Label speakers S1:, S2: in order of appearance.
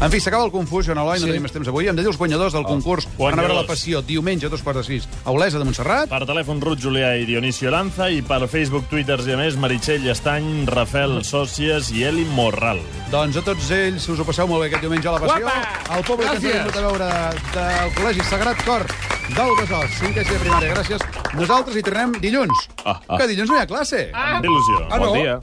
S1: En fi, s'acaba el confús, Joan Eloi, no
S2: Sí.
S1: tenim més temps avui. Hem de dir els guanyadors del concurs. Van a veure la
S3: guanyadors.
S1: passió diumenge a dos quarts de sis a Olesa de Montserrat.
S3: Per telèfon, Ruth Julià i Dionisio Lanza, i per Facebook, Twitter i a més, Meritxell Estany, Rafael Sòcies i Eli Morral.
S1: Doncs a tots ells, si us ho passeu molt bé aquest diumenge a la passió,
S2: Guapa!
S1: el públic que ens ha
S2: Gràcies.
S1: vingut a veure del Col·legi Sagrat Cor del Besòs, cinquè de primària. Gràcies. Nosaltres hi tornem dilluns.
S3: Ah, ah.
S1: Que dilluns no hi ha classe.
S3: Amb il·lusió.
S1: Ah, no?
S3: Bon dia.